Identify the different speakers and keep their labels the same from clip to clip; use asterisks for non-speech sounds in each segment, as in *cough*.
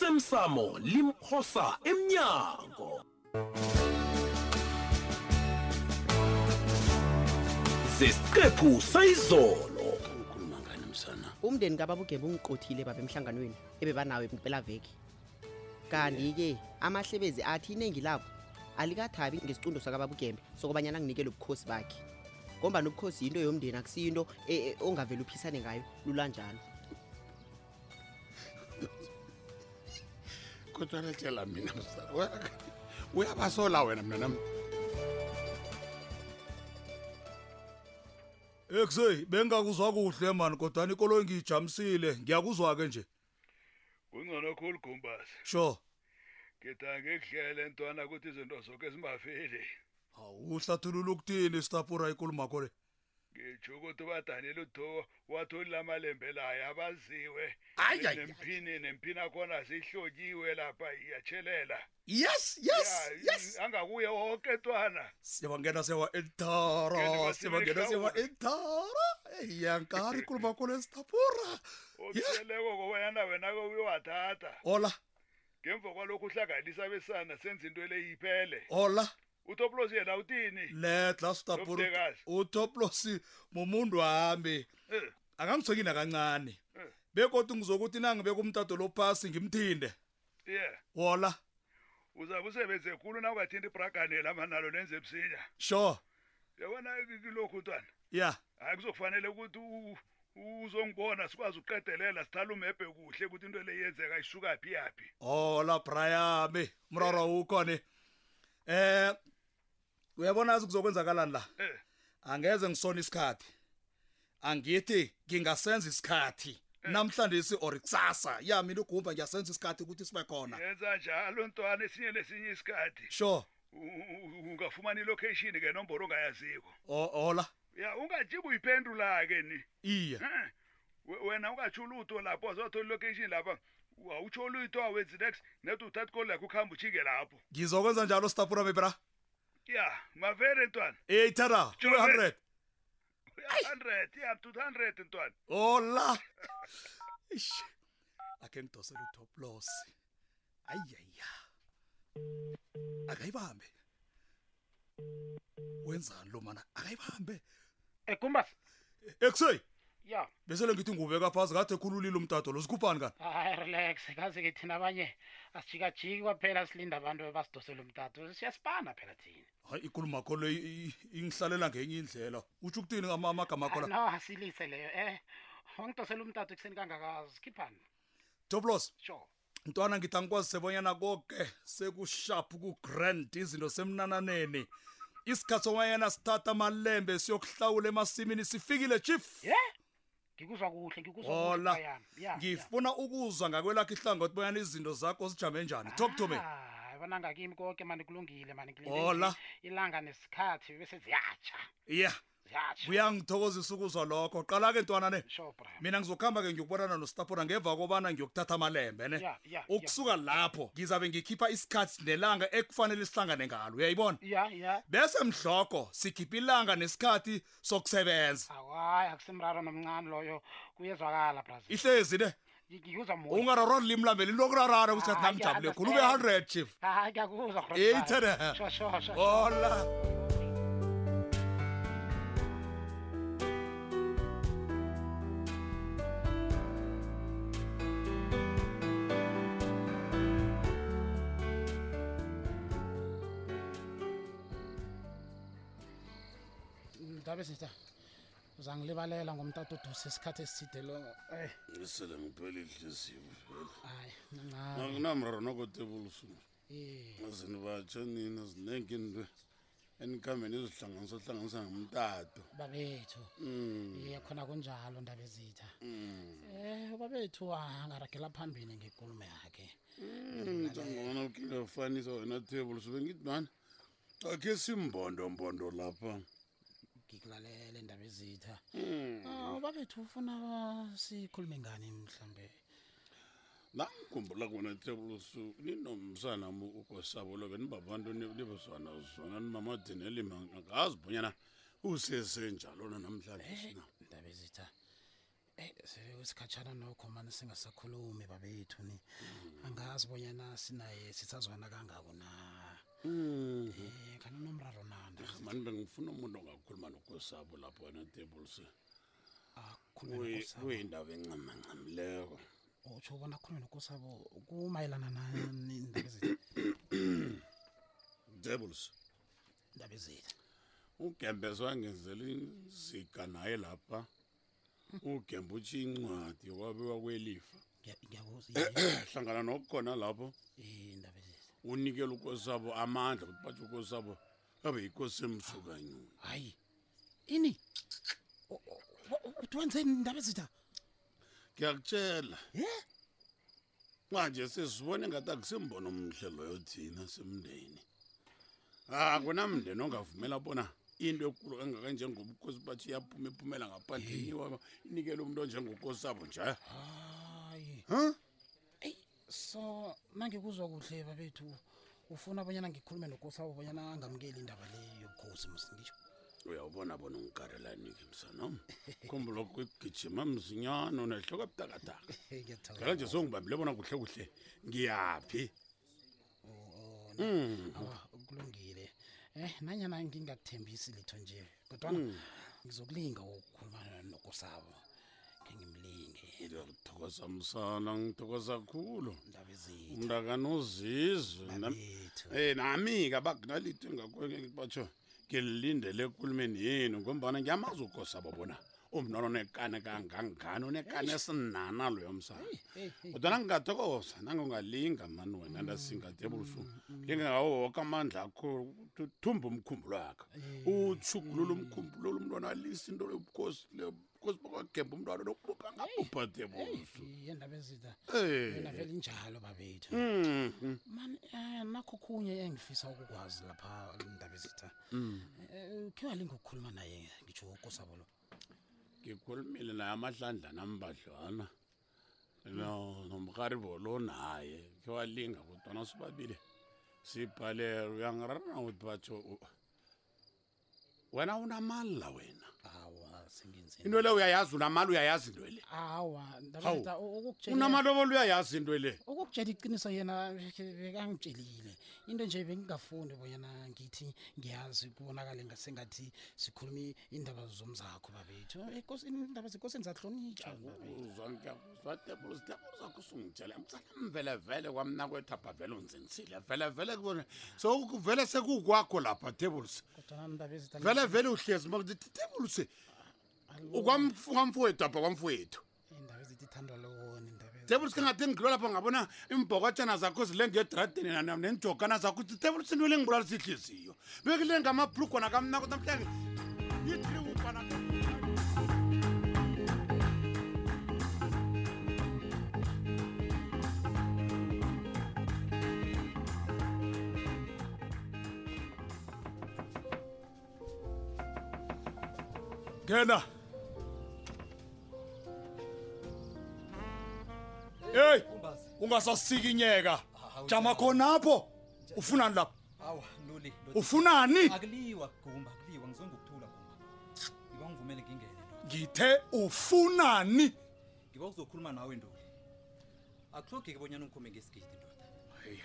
Speaker 1: osemsamo limphosa emnyango zesiqephu sayizolo
Speaker 2: ukhuluma ngani msana
Speaker 3: umndeni kababugebu ungiqothile baba emhlanganweni ebebanawo empelaveki kanti-ke amahlebezi athi iningi labo alikathabi ngesicundo sakababugembe sokobanyana anginikele ubukhosi bakhe ngombani ubukhosi yinto yomndeni akusiyinto e- e- ongavele uphisane ngayo lula njalo
Speaker 2: kodwana tshela mina msana Uya- uyabasola wena mnanam
Speaker 4: Ekuse bengakuzwa kuhle man kodwa ikolo ngijamsile ngiyakuzwa ke nje
Speaker 5: kungcono khulu gumbasi
Speaker 4: sho
Speaker 5: ngidange kuhlele ntwana ukuthi izinto zonke zingafeli
Speaker 4: awuhlathulula ukuthini stapura ikuluma kole
Speaker 5: ngitsho ukuthi ubadanile uthoko wathi ulilamalembe layo abaziwe
Speaker 2: Ayi, ayi,
Speaker 5: nemphini nemphini akhona zihlokiwe lapha iyatshelela
Speaker 4: yes
Speaker 5: Ya, angakuye wonke ntwana
Speaker 4: siyabangena sewa entara
Speaker 5: Ngene
Speaker 4: siyabangena
Speaker 5: kwasibili
Speaker 4: sewa
Speaker 5: hlawula.
Speaker 4: entara eyankari ikuluma kole stapura
Speaker 5: okutheleko kobayana wena-ke uyowathatha
Speaker 4: hola
Speaker 5: ngemva kwalokhu uhlanganisa besana senza into le yiphele
Speaker 4: hola
Speaker 5: utoplos yena utini
Speaker 2: Mm.
Speaker 4: letla stapura
Speaker 5: Lobutekazi.
Speaker 4: utoplosi mumuntu wami
Speaker 5: Eh,
Speaker 4: akangithekina kancane
Speaker 5: Eh.
Speaker 4: bekodwa ngizokuthi nangibe kumtato lophasi ngimthinde
Speaker 5: ye
Speaker 4: hola
Speaker 5: uzabe usebenze khulu na ungathinti ibhragane lamanalo nenze ebusinya
Speaker 4: sho
Speaker 5: yabona kilokhu ntwana
Speaker 4: yeah
Speaker 5: hayi kuzokufanele ukuthi u- u- uzongibona sikwazi ukuqedelela sithale umebhe kuhle ukuthi into le yenzeka isuka phi yaphi
Speaker 4: hola brayami mroro ukhone eh uyabona ukuthi kuzokwenzakalani la
Speaker 5: Eh.
Speaker 4: angeze ngisona isikhathi angithi ngingasenza isikhathi namhlanje si or kusasa ya mina ugumba ngiyasenza isikhathi ukuthi sibe khona
Speaker 5: yenza njalo ntwana esinye nesinye isikhathi
Speaker 4: sure
Speaker 5: U- u- ungafumana ilocation ke nomboro ongayaziko
Speaker 4: O- hola
Speaker 5: ya ungajibi uyiphendula-ke ni
Speaker 4: iya
Speaker 5: Eh, we- wena ungatsho ulutho lapho azothola ilocation lapha awutsho ulutho awenzi next net uthatha ikoli lakho ukuhambe ujike lapho
Speaker 4: ngizokwenza njalo stapura bebra
Speaker 5: ya mavere ntwana
Speaker 4: eh tara
Speaker 5: Jove.
Speaker 4: 100
Speaker 5: hundred ya to hundred ntwana
Speaker 4: hola Eish. ake ngidosele utoplos ayiyaya akayibambe wenzani lo mana akayibambe
Speaker 6: egumbas
Speaker 4: ekuseyi
Speaker 6: ya
Speaker 4: besele ngithi ngubeka phasi kade khululile umtato lo sikhuphani kani
Speaker 6: hayi relax *laughs* kazi-ke thina abanye asijikajiki kwaphela silinda abantu ebasidosela umtato siyasibana phela thina
Speaker 4: hayi ikuluma kho le i- i- ingihlalela ngenye indlela utsho ukuthini ama- amagama kho
Speaker 6: Ah,
Speaker 4: la
Speaker 6: no asilise leyo eh wangidosela umtato ekuseni kangakazi khiphani
Speaker 4: toplos
Speaker 6: sure
Speaker 4: mntwana ngithi angikwazi sebonyana koke sekushaphu kugrand izinto semnananeni isikhathi somayena sithatha amalembe siyokuhlawula emasimini sifikile chief
Speaker 6: ye ngikuzwa kuhle
Speaker 4: Hola.
Speaker 6: ngikuzwa
Speaker 4: ngifuna ukuzwa ngakwelakho ihlangothi bonyana izinto zakho zijame njani talk to me
Speaker 5: Ah.
Speaker 6: yabona ngakimi konke mani kulungile mani ngilinde
Speaker 4: Hola.
Speaker 6: nje ilanga nesikhathi bese ziyatsha
Speaker 4: yeah
Speaker 6: ziyatsha
Speaker 4: kuyangithokozisa ukuzwa lokho qala-ke ntwana ne
Speaker 6: sure bra
Speaker 4: mina ngizokuhamba-ke ngiyokubonana nostapona ngeva kobana ngiyokuthatha amalembe ne
Speaker 6: Ya, ya, ya.
Speaker 4: ukusuka lapho ngizabe ngikhipha isikhathi nelanga ekufanele sihlangane ngalo uyayibona
Speaker 6: ya ya
Speaker 4: bese mhloko sikhipha ilanga nesikhathi sokusebenza
Speaker 6: awayi akusimraro nomncane loyo kuyezwakala brazil
Speaker 4: ihlezi ne
Speaker 6: ngikuzwa moya
Speaker 4: ungararwa limi lambe lilokurarara kusikhathi
Speaker 6: Ah,
Speaker 4: nami jabule
Speaker 6: yeah,
Speaker 4: khulu ube-100 chief
Speaker 6: hayi ngiyakuzwa Grootbaai.
Speaker 4: Eh, Oh. ithera.
Speaker 6: Sure, sure, sure.
Speaker 4: hola
Speaker 7: mdabe sitha uzangilibalela ngomtata uduse isikhathi esithide lo Eh,
Speaker 2: ngisele ngiphele ihliziyo
Speaker 7: hayi ncane
Speaker 2: akunamraro nokotebulusuku
Speaker 7: Eh,
Speaker 2: azini batsho nina zinengi into enikhambe nizihlanganisa hlanganisa ngomtato
Speaker 7: babethu iye khona kunjalo ndabe zitha um ubabethu angaragela phambili ngekulumo yakhe
Speaker 2: njengobana ukingafanisa wena table sube ngithi mani akhe simbondombondo lapha
Speaker 7: ngikulalele ndabe zitha Ah, ubabethu ufuna sikhulume ngani mhlawumbe
Speaker 2: nangikhumbula kubona tebulusu ninomsana mo ukosabo lobe nibabantu ni- nibuzwana zona nimamadinelima ngazi bonyana usesenjalona namhlanje sina
Speaker 7: ndabe zitha um isikhatshana nokho mani singasakhulumi babethu ni angazi bonyana sinaye sisazwana kangako na um kana nomraro nanda
Speaker 2: mani bengifuna umuntu ongakhuluma nokosabo lapho wena tables
Speaker 7: akhulume
Speaker 2: kuyindawo encamancamileko
Speaker 7: utsho ubona akhulume nokosabo kumayelana nani indaba ezitha
Speaker 2: tables
Speaker 7: indaba ezitha
Speaker 2: ugembezo wangenzela izika naye lapha ugembe utshiya incwadi yokwabiwa kwelifa Eh,
Speaker 7: ngiyakuzindaba
Speaker 2: hlangana nokukhona lapho
Speaker 7: ezitha
Speaker 2: unikele ukosabo amandla ukuthi batsho ukosabo abe yikosi emsukanyoni
Speaker 7: hayi ini U- u- u- uthi wenzeni indaba ezitha
Speaker 2: ngiyakutshela
Speaker 7: ye
Speaker 2: manje sesibone ngathi akusembono omhle loyo thina semndeni akunamndeni ongavumela bona into ekulu kangaka njengobukhosi bathi iyaphuma iphumela ngaphandle iwa inikele umntu onjengokosi abo nje
Speaker 7: hayi
Speaker 2: Huh?
Speaker 7: eyi so nangikuzwa kuhle babethu ufuna bonyana ngikhulume nokosabo bonyana angamukeli indaba le yobukhosi msingisho
Speaker 2: uyawubona bona ungikarelani-ke msanam khumbuloko igijima mzinyana unehloko ebutakataka ngaka nje songibambile bona kuhle kuhle ngiyaphi
Speaker 7: Oh,
Speaker 2: Mm.
Speaker 7: kulungile eh nanyana ngingakuthembisi litho nje kodwana
Speaker 2: Hmm.
Speaker 7: ngizokulinga ukukhuluma nokosabo khe ngimlinge
Speaker 2: ngiyakuthokoza msana ngithokoza khulu
Speaker 7: indaba ezinye
Speaker 2: umntakanozizwe nam-
Speaker 7: babethu
Speaker 2: Eh nami ke abakunalito engakwenye batsho ngilindele ekulumeni yenu ngombana ngiyamazi ugosa babona umnono nekane kangangani unekane esinana loyo msana kodwana ngingathokoza nangongalinga mani wena ndasingatebusu lingangawo woke amandla akho ukuthi uthumbe umkhumbulo wakhe utshugulule umkhumbulo umntwana alisa into lobukhosi lobukhosi bakwagemba umntwana lokubupha ngabupha tebusu
Speaker 7: yendaba ezitha yona
Speaker 2: um
Speaker 7: vele injalo babethu mani eh, nakho khunye engifisa ukukwazi lapha indaba ezitha khe walingokukhuluma naye ngitsho ukosabo lo
Speaker 2: ngikhulumile naye amahlandla nambadlwana no nomharibo lo naye khe walinga kodwana sibabile sibhalele uyangirarana ukuthi batsho u- wena unamali la wena
Speaker 7: awa sengenzeni
Speaker 2: into le uyayazi unamali uyayazi into le
Speaker 7: awa
Speaker 2: Hawu.
Speaker 7: ndaba ukukutshela
Speaker 2: unamalobolo uyayazi into le
Speaker 7: ukukutshela iqiniso yena bekangitshelile into nje bengingafundi bonyana ngithi ngiyazi kubonakale ngasengathi sikhulumi indaba zomzakho babethu Eh, Enkosi- indaba zekosini zahlonitshwa
Speaker 2: zonkeuzakho sungitshela mtsalam velevele kwamna kwethapha vele unzinisile velevele kubona so vele sekukwakho lapha tables
Speaker 7: kodwana ndaba
Speaker 2: vele vele uhlezi makuthi tables kwamfowethu apha kwamfowethu
Speaker 7: ezindaba ezitithandwa lowona indaba ezi-
Speaker 2: tebulisi kangathi ngidlula lapho ngabona imbhokotshana zakho zilende edradeni nenjogana zakho uthi tebulisi into lengibulala sihliziyo bekule ngamabhlugwana kamnako namhlanje yitriukana
Speaker 4: ngena heyi ungasasikinyeka jama khonapho ufunani lapho
Speaker 8: awa loli loli.
Speaker 4: ufunani
Speaker 8: akuliwa gumba akuliwa ngizongokuthula gumba ngiba ngivumele ngingene ndoda
Speaker 4: ngithe ufunani
Speaker 8: ngiba uzokhuluma nawe ndoda akuhlogeki bonyana ungikhume ngesigidi ndoda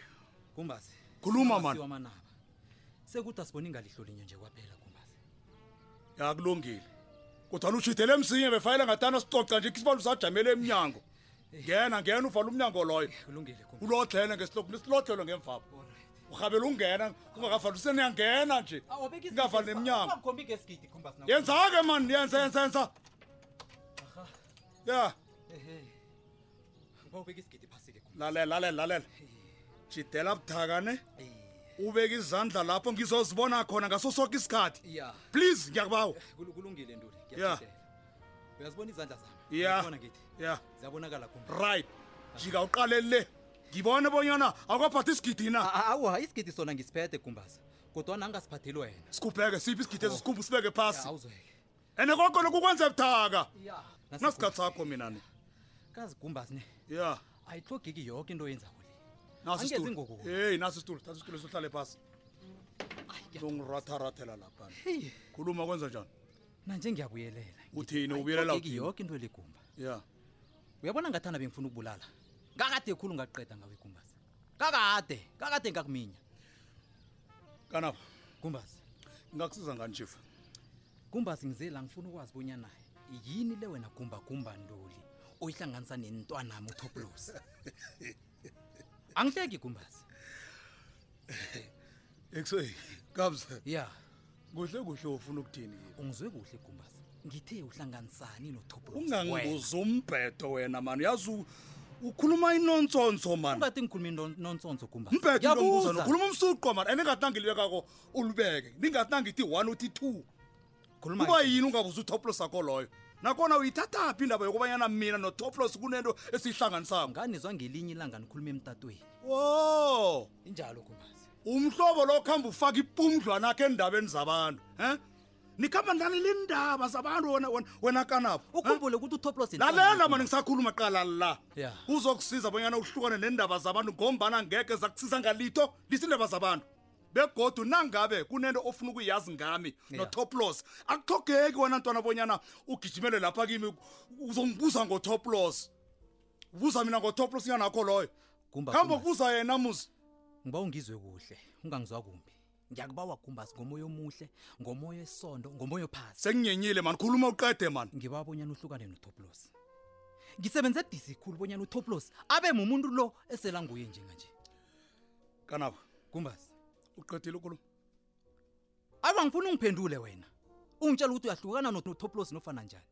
Speaker 8: gumbazi
Speaker 4: Khuluma, man.
Speaker 8: wamanaba sekuthi asiboni ngalihlo linye nje kwaphela gumbazi
Speaker 4: yakulungile kodwana ushidele emsinye befayela ngatana sicoca nje kisibalo sajamele emnyango ngena ngena uvala umnyango loyo
Speaker 8: kulungile gumba
Speaker 4: ulodlele ngesilokhu nisilodlelwe ngemvapho urhabela ungena ungakavali useniyangena nje ngavali nemnyango
Speaker 8: ungakhombi ngesigidi gumbazi nawe.
Speaker 4: yenza-ke mani yenza yenza yenza
Speaker 8: Aha,
Speaker 4: ya
Speaker 8: ehe. ngawubeka isigidi phasi-ke gumba
Speaker 4: lalela lalela lalela jidela buthakane
Speaker 8: Eh,
Speaker 4: ubeke izandla lapho ngizozibona khona ngaso soke isikhathi
Speaker 8: ya
Speaker 4: please ngiyakubawa
Speaker 8: kul- kulungile ntoli
Speaker 4: Ya.
Speaker 8: ngiyakutshela uyazibona izandla zami
Speaker 4: Ya.
Speaker 8: Uyazibona ngithi
Speaker 4: ya
Speaker 8: ziyabonakala gumba
Speaker 4: right jika uqalele le ngibone bonyana akwaphathi isigidi na
Speaker 8: A- awa isigidi sona ngisiphethe gumbaza kodwana angasiphatheli wena
Speaker 4: sikhubheke siphi isigidi esisikhumbu sibeke phasi
Speaker 8: awuzeke
Speaker 4: ande konke lokhu kwenze buthaka nasikhathi sakho mina ni
Speaker 8: kazi gumbazi ne
Speaker 4: ya
Speaker 8: ayihlogeki yoke into oyenzako le
Speaker 4: naso
Speaker 8: Angezi
Speaker 4: isitulo
Speaker 8: ngokuwe.
Speaker 4: heyi naso isitulo thatha isitulo sohlale phasi
Speaker 8: Ayi, ngiyathokoza.
Speaker 4: longirathaarathela lapha
Speaker 8: Hey,
Speaker 4: khuluma kwenza njani
Speaker 8: nanje ngiyabuyelela
Speaker 4: Uthini, ubuyelela
Speaker 8: Ayitlhogeki
Speaker 4: uthini?
Speaker 8: yoke into legumba
Speaker 4: ya
Speaker 8: uyabona ngathana bengifuna ukubulala ngakade khulu ngakuqeda ngawe gumbaza kakade kakade ngakuminya
Speaker 4: kanapa
Speaker 8: gumbasi
Speaker 4: ngakusiza ngani chief
Speaker 8: gumbasi ngizela ngifuna ukwazi bonyana yini le wena gumbagumba ntuli oyihlanganisa nentwanami utoplos angihleki gumbasi
Speaker 4: ekusey kabza
Speaker 8: ya
Speaker 4: kuhle kuhle ufuna ukuthini
Speaker 8: ungizwe kuhle gumbasi ngithe uhlanganisani notoplos
Speaker 4: ungangibuza umbhedo wena mani yazi u- ukhuluma inontsonso mani
Speaker 8: ungathi ngikhulumi non- nonsonso gumbasi
Speaker 4: mbhedo
Speaker 8: Ngiyabuza.
Speaker 4: umbuzano ukhuluma umsuqo mani and ingathi nangilibekako ulibeke ningathi nangithi one uthi two
Speaker 8: Khuluma
Speaker 4: kuba
Speaker 8: ke.
Speaker 4: yini ungabuza utoplos akho loyo nakhona uyithathaphi indaba yokubanyana mina notoplos kunento esiyihlanganisako
Speaker 8: nganizwa ngelinye ilanga nikhuluma emtatweni
Speaker 4: wo
Speaker 8: injalo gumbasi
Speaker 4: umhlobo lo khamba ufaka ipumdlwana akhe endabeni zabantu um nikhamba nilalela indaba zabantu wena- wena- wena kanabo eh?
Speaker 8: ukhumbule ukuthi utoplos
Speaker 4: lalela mani ngisakhuluma qala la
Speaker 8: Ya.
Speaker 4: uzokusiza bonyana uhlukane neendaba zabantu ngombana ngeke zakusiza ngalitho lisindaba zabantu begodu nangabe kunento ofuna ukuyazi ngami
Speaker 8: Ya.
Speaker 4: notoplos akuxhogeki wena ntwana bonyana ugijimele lapha kimi uzongibuza ngotoplos ubuza mina ngotoplos yanakho loyo
Speaker 8: Kumba,
Speaker 4: kambe
Speaker 8: Kumba.
Speaker 4: ukubuza yena muzi
Speaker 8: ngiba ungizwe kuhle ungangizwa kumbi ngiyakubawa gumbasi ngomoya omuhle ngomoya esondo ngomoya phasi
Speaker 4: senginyenyile mani khuluma uqede mani
Speaker 8: ngibawa bonyana uhlukane notoplos ngisebenze busy khulu bonyana utoplos abe mumuntu lo esela nguye njenganje
Speaker 4: kanaba
Speaker 8: gumbasi
Speaker 4: uqedile ukhuluma
Speaker 8: aba ngifuna ungiphendule wena ungitshela ukuthi uyahlukana no- notoplos nofana njani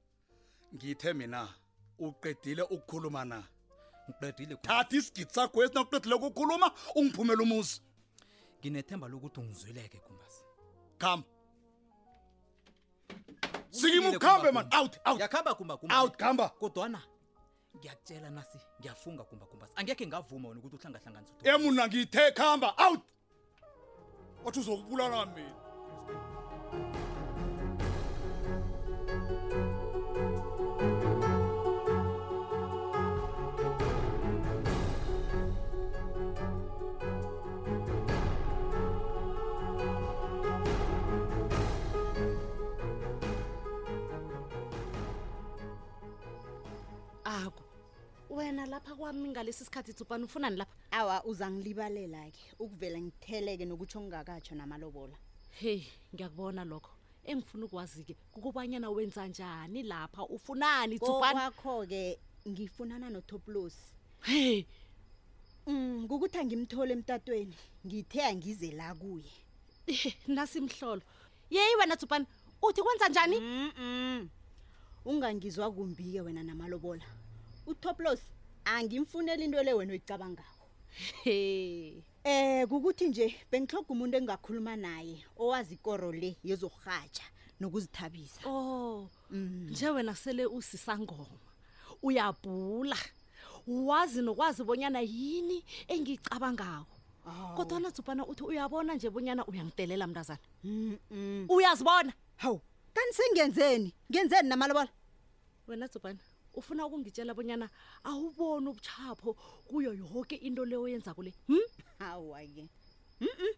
Speaker 4: ngithe mina uqedile ukukhuluma na
Speaker 8: ngiqedile Gumbasi.
Speaker 4: thatha isigidi sakho esinakuqedile ukukhuluma ungiphumele umuzi
Speaker 8: nginethemba lokuthi ungizwileke gumbasi
Speaker 4: khamba sikima ukhambe man out out
Speaker 8: yakhamba kumba
Speaker 4: out khamba
Speaker 8: kodwana ngiyakutshela nasi ngiyafunga kumba gumbasi angekhe ngavuma wena ukuthi uhlangahlanganisa utoplos.
Speaker 4: emuna ngithe khamba out wathi uzokubulala mina
Speaker 9: ako wena lapha kwami ngalesi sikhathi thubhani ufunani lapha
Speaker 10: awa uzangilibalela-ke ukuvela ngitheleke nokutsho ngingakatsho namalobola
Speaker 9: heyi ngiyakubona lokho engifuna ukwazi-ke kukubanyana wenza njani lapha ufunani thubhani
Speaker 10: kokwakho-ke ngifunana notoplosi
Speaker 9: heyi
Speaker 10: um kukuthi angimthole emtatweni ngithe angize la kuye
Speaker 9: eh, nasimhlolo yeyi wena thubhani uthi kwenza njani
Speaker 10: mm ungangizwa kumbi-ke wena namalobola utoplosi angimfuneli into le wena oyicabangako
Speaker 9: he
Speaker 10: Eh kukuthi nje bengihloga umuntu engakhuluma naye owazi ikoro le yezorhatsha nokuzithabisa.
Speaker 9: o Oh,
Speaker 10: Mm.
Speaker 9: nje wena sele usisangoma uyabhula wazi nokwazi bonyana yini engiyicabangako kodwana thubhana uthi uyabona nje bonyana uyangidelela mntazana
Speaker 10: Mhm.
Speaker 9: uyazibona
Speaker 10: Hawu, kanti sengenzeni? Ngenzeni namalobola?
Speaker 9: wena dzubana ufuna ukungitshela bonyana awuboni ubuchapho kuyo yonke into leyo yenza kule hm?
Speaker 10: Hawa ke. Mhm.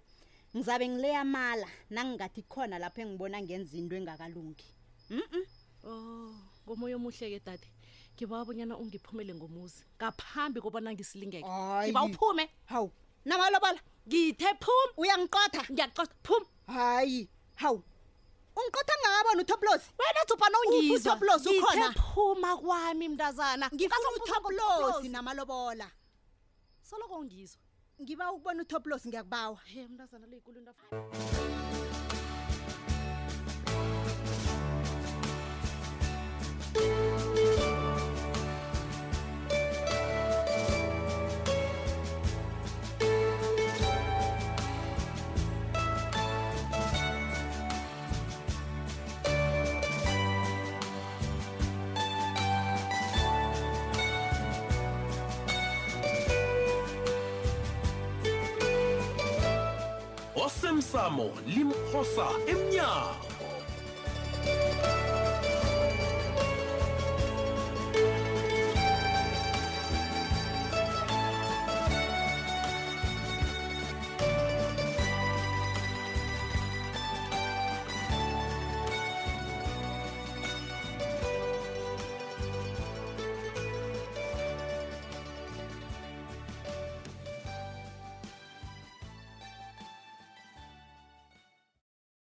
Speaker 10: Ngizabe ngileya mala nangingathi khona lapho engibona ngenza into engakalungi. Mhm.
Speaker 9: oh ngomoya omuhle-ke dade ngibawa bonyana ungiphumele ngomuzi ngaphambi kobana ngisilingeke
Speaker 10: Hayi.
Speaker 9: ngiba uphume
Speaker 10: Hawu, namalobola
Speaker 9: ngithe phum
Speaker 10: uyangiqotha.
Speaker 9: ngiyaxoxa phum
Speaker 10: Hayi, hawu. Ungiqotha ngingakabona uToplosi.
Speaker 9: wena dzubana ungizwa
Speaker 10: uToplosi ukhona?
Speaker 9: Ngithe phuma kwami mntazana
Speaker 10: Ngifuna
Speaker 9: Ngaze ngibuze
Speaker 10: uToplosi
Speaker 9: kuToplosi.
Speaker 10: namalobola.
Speaker 9: soloko ungizwa
Speaker 10: Ngiba ukubona uToplosi ngiyakubawa.
Speaker 9: he mntazana leyikulu into af-
Speaker 1: osemsamo limphosa emnyango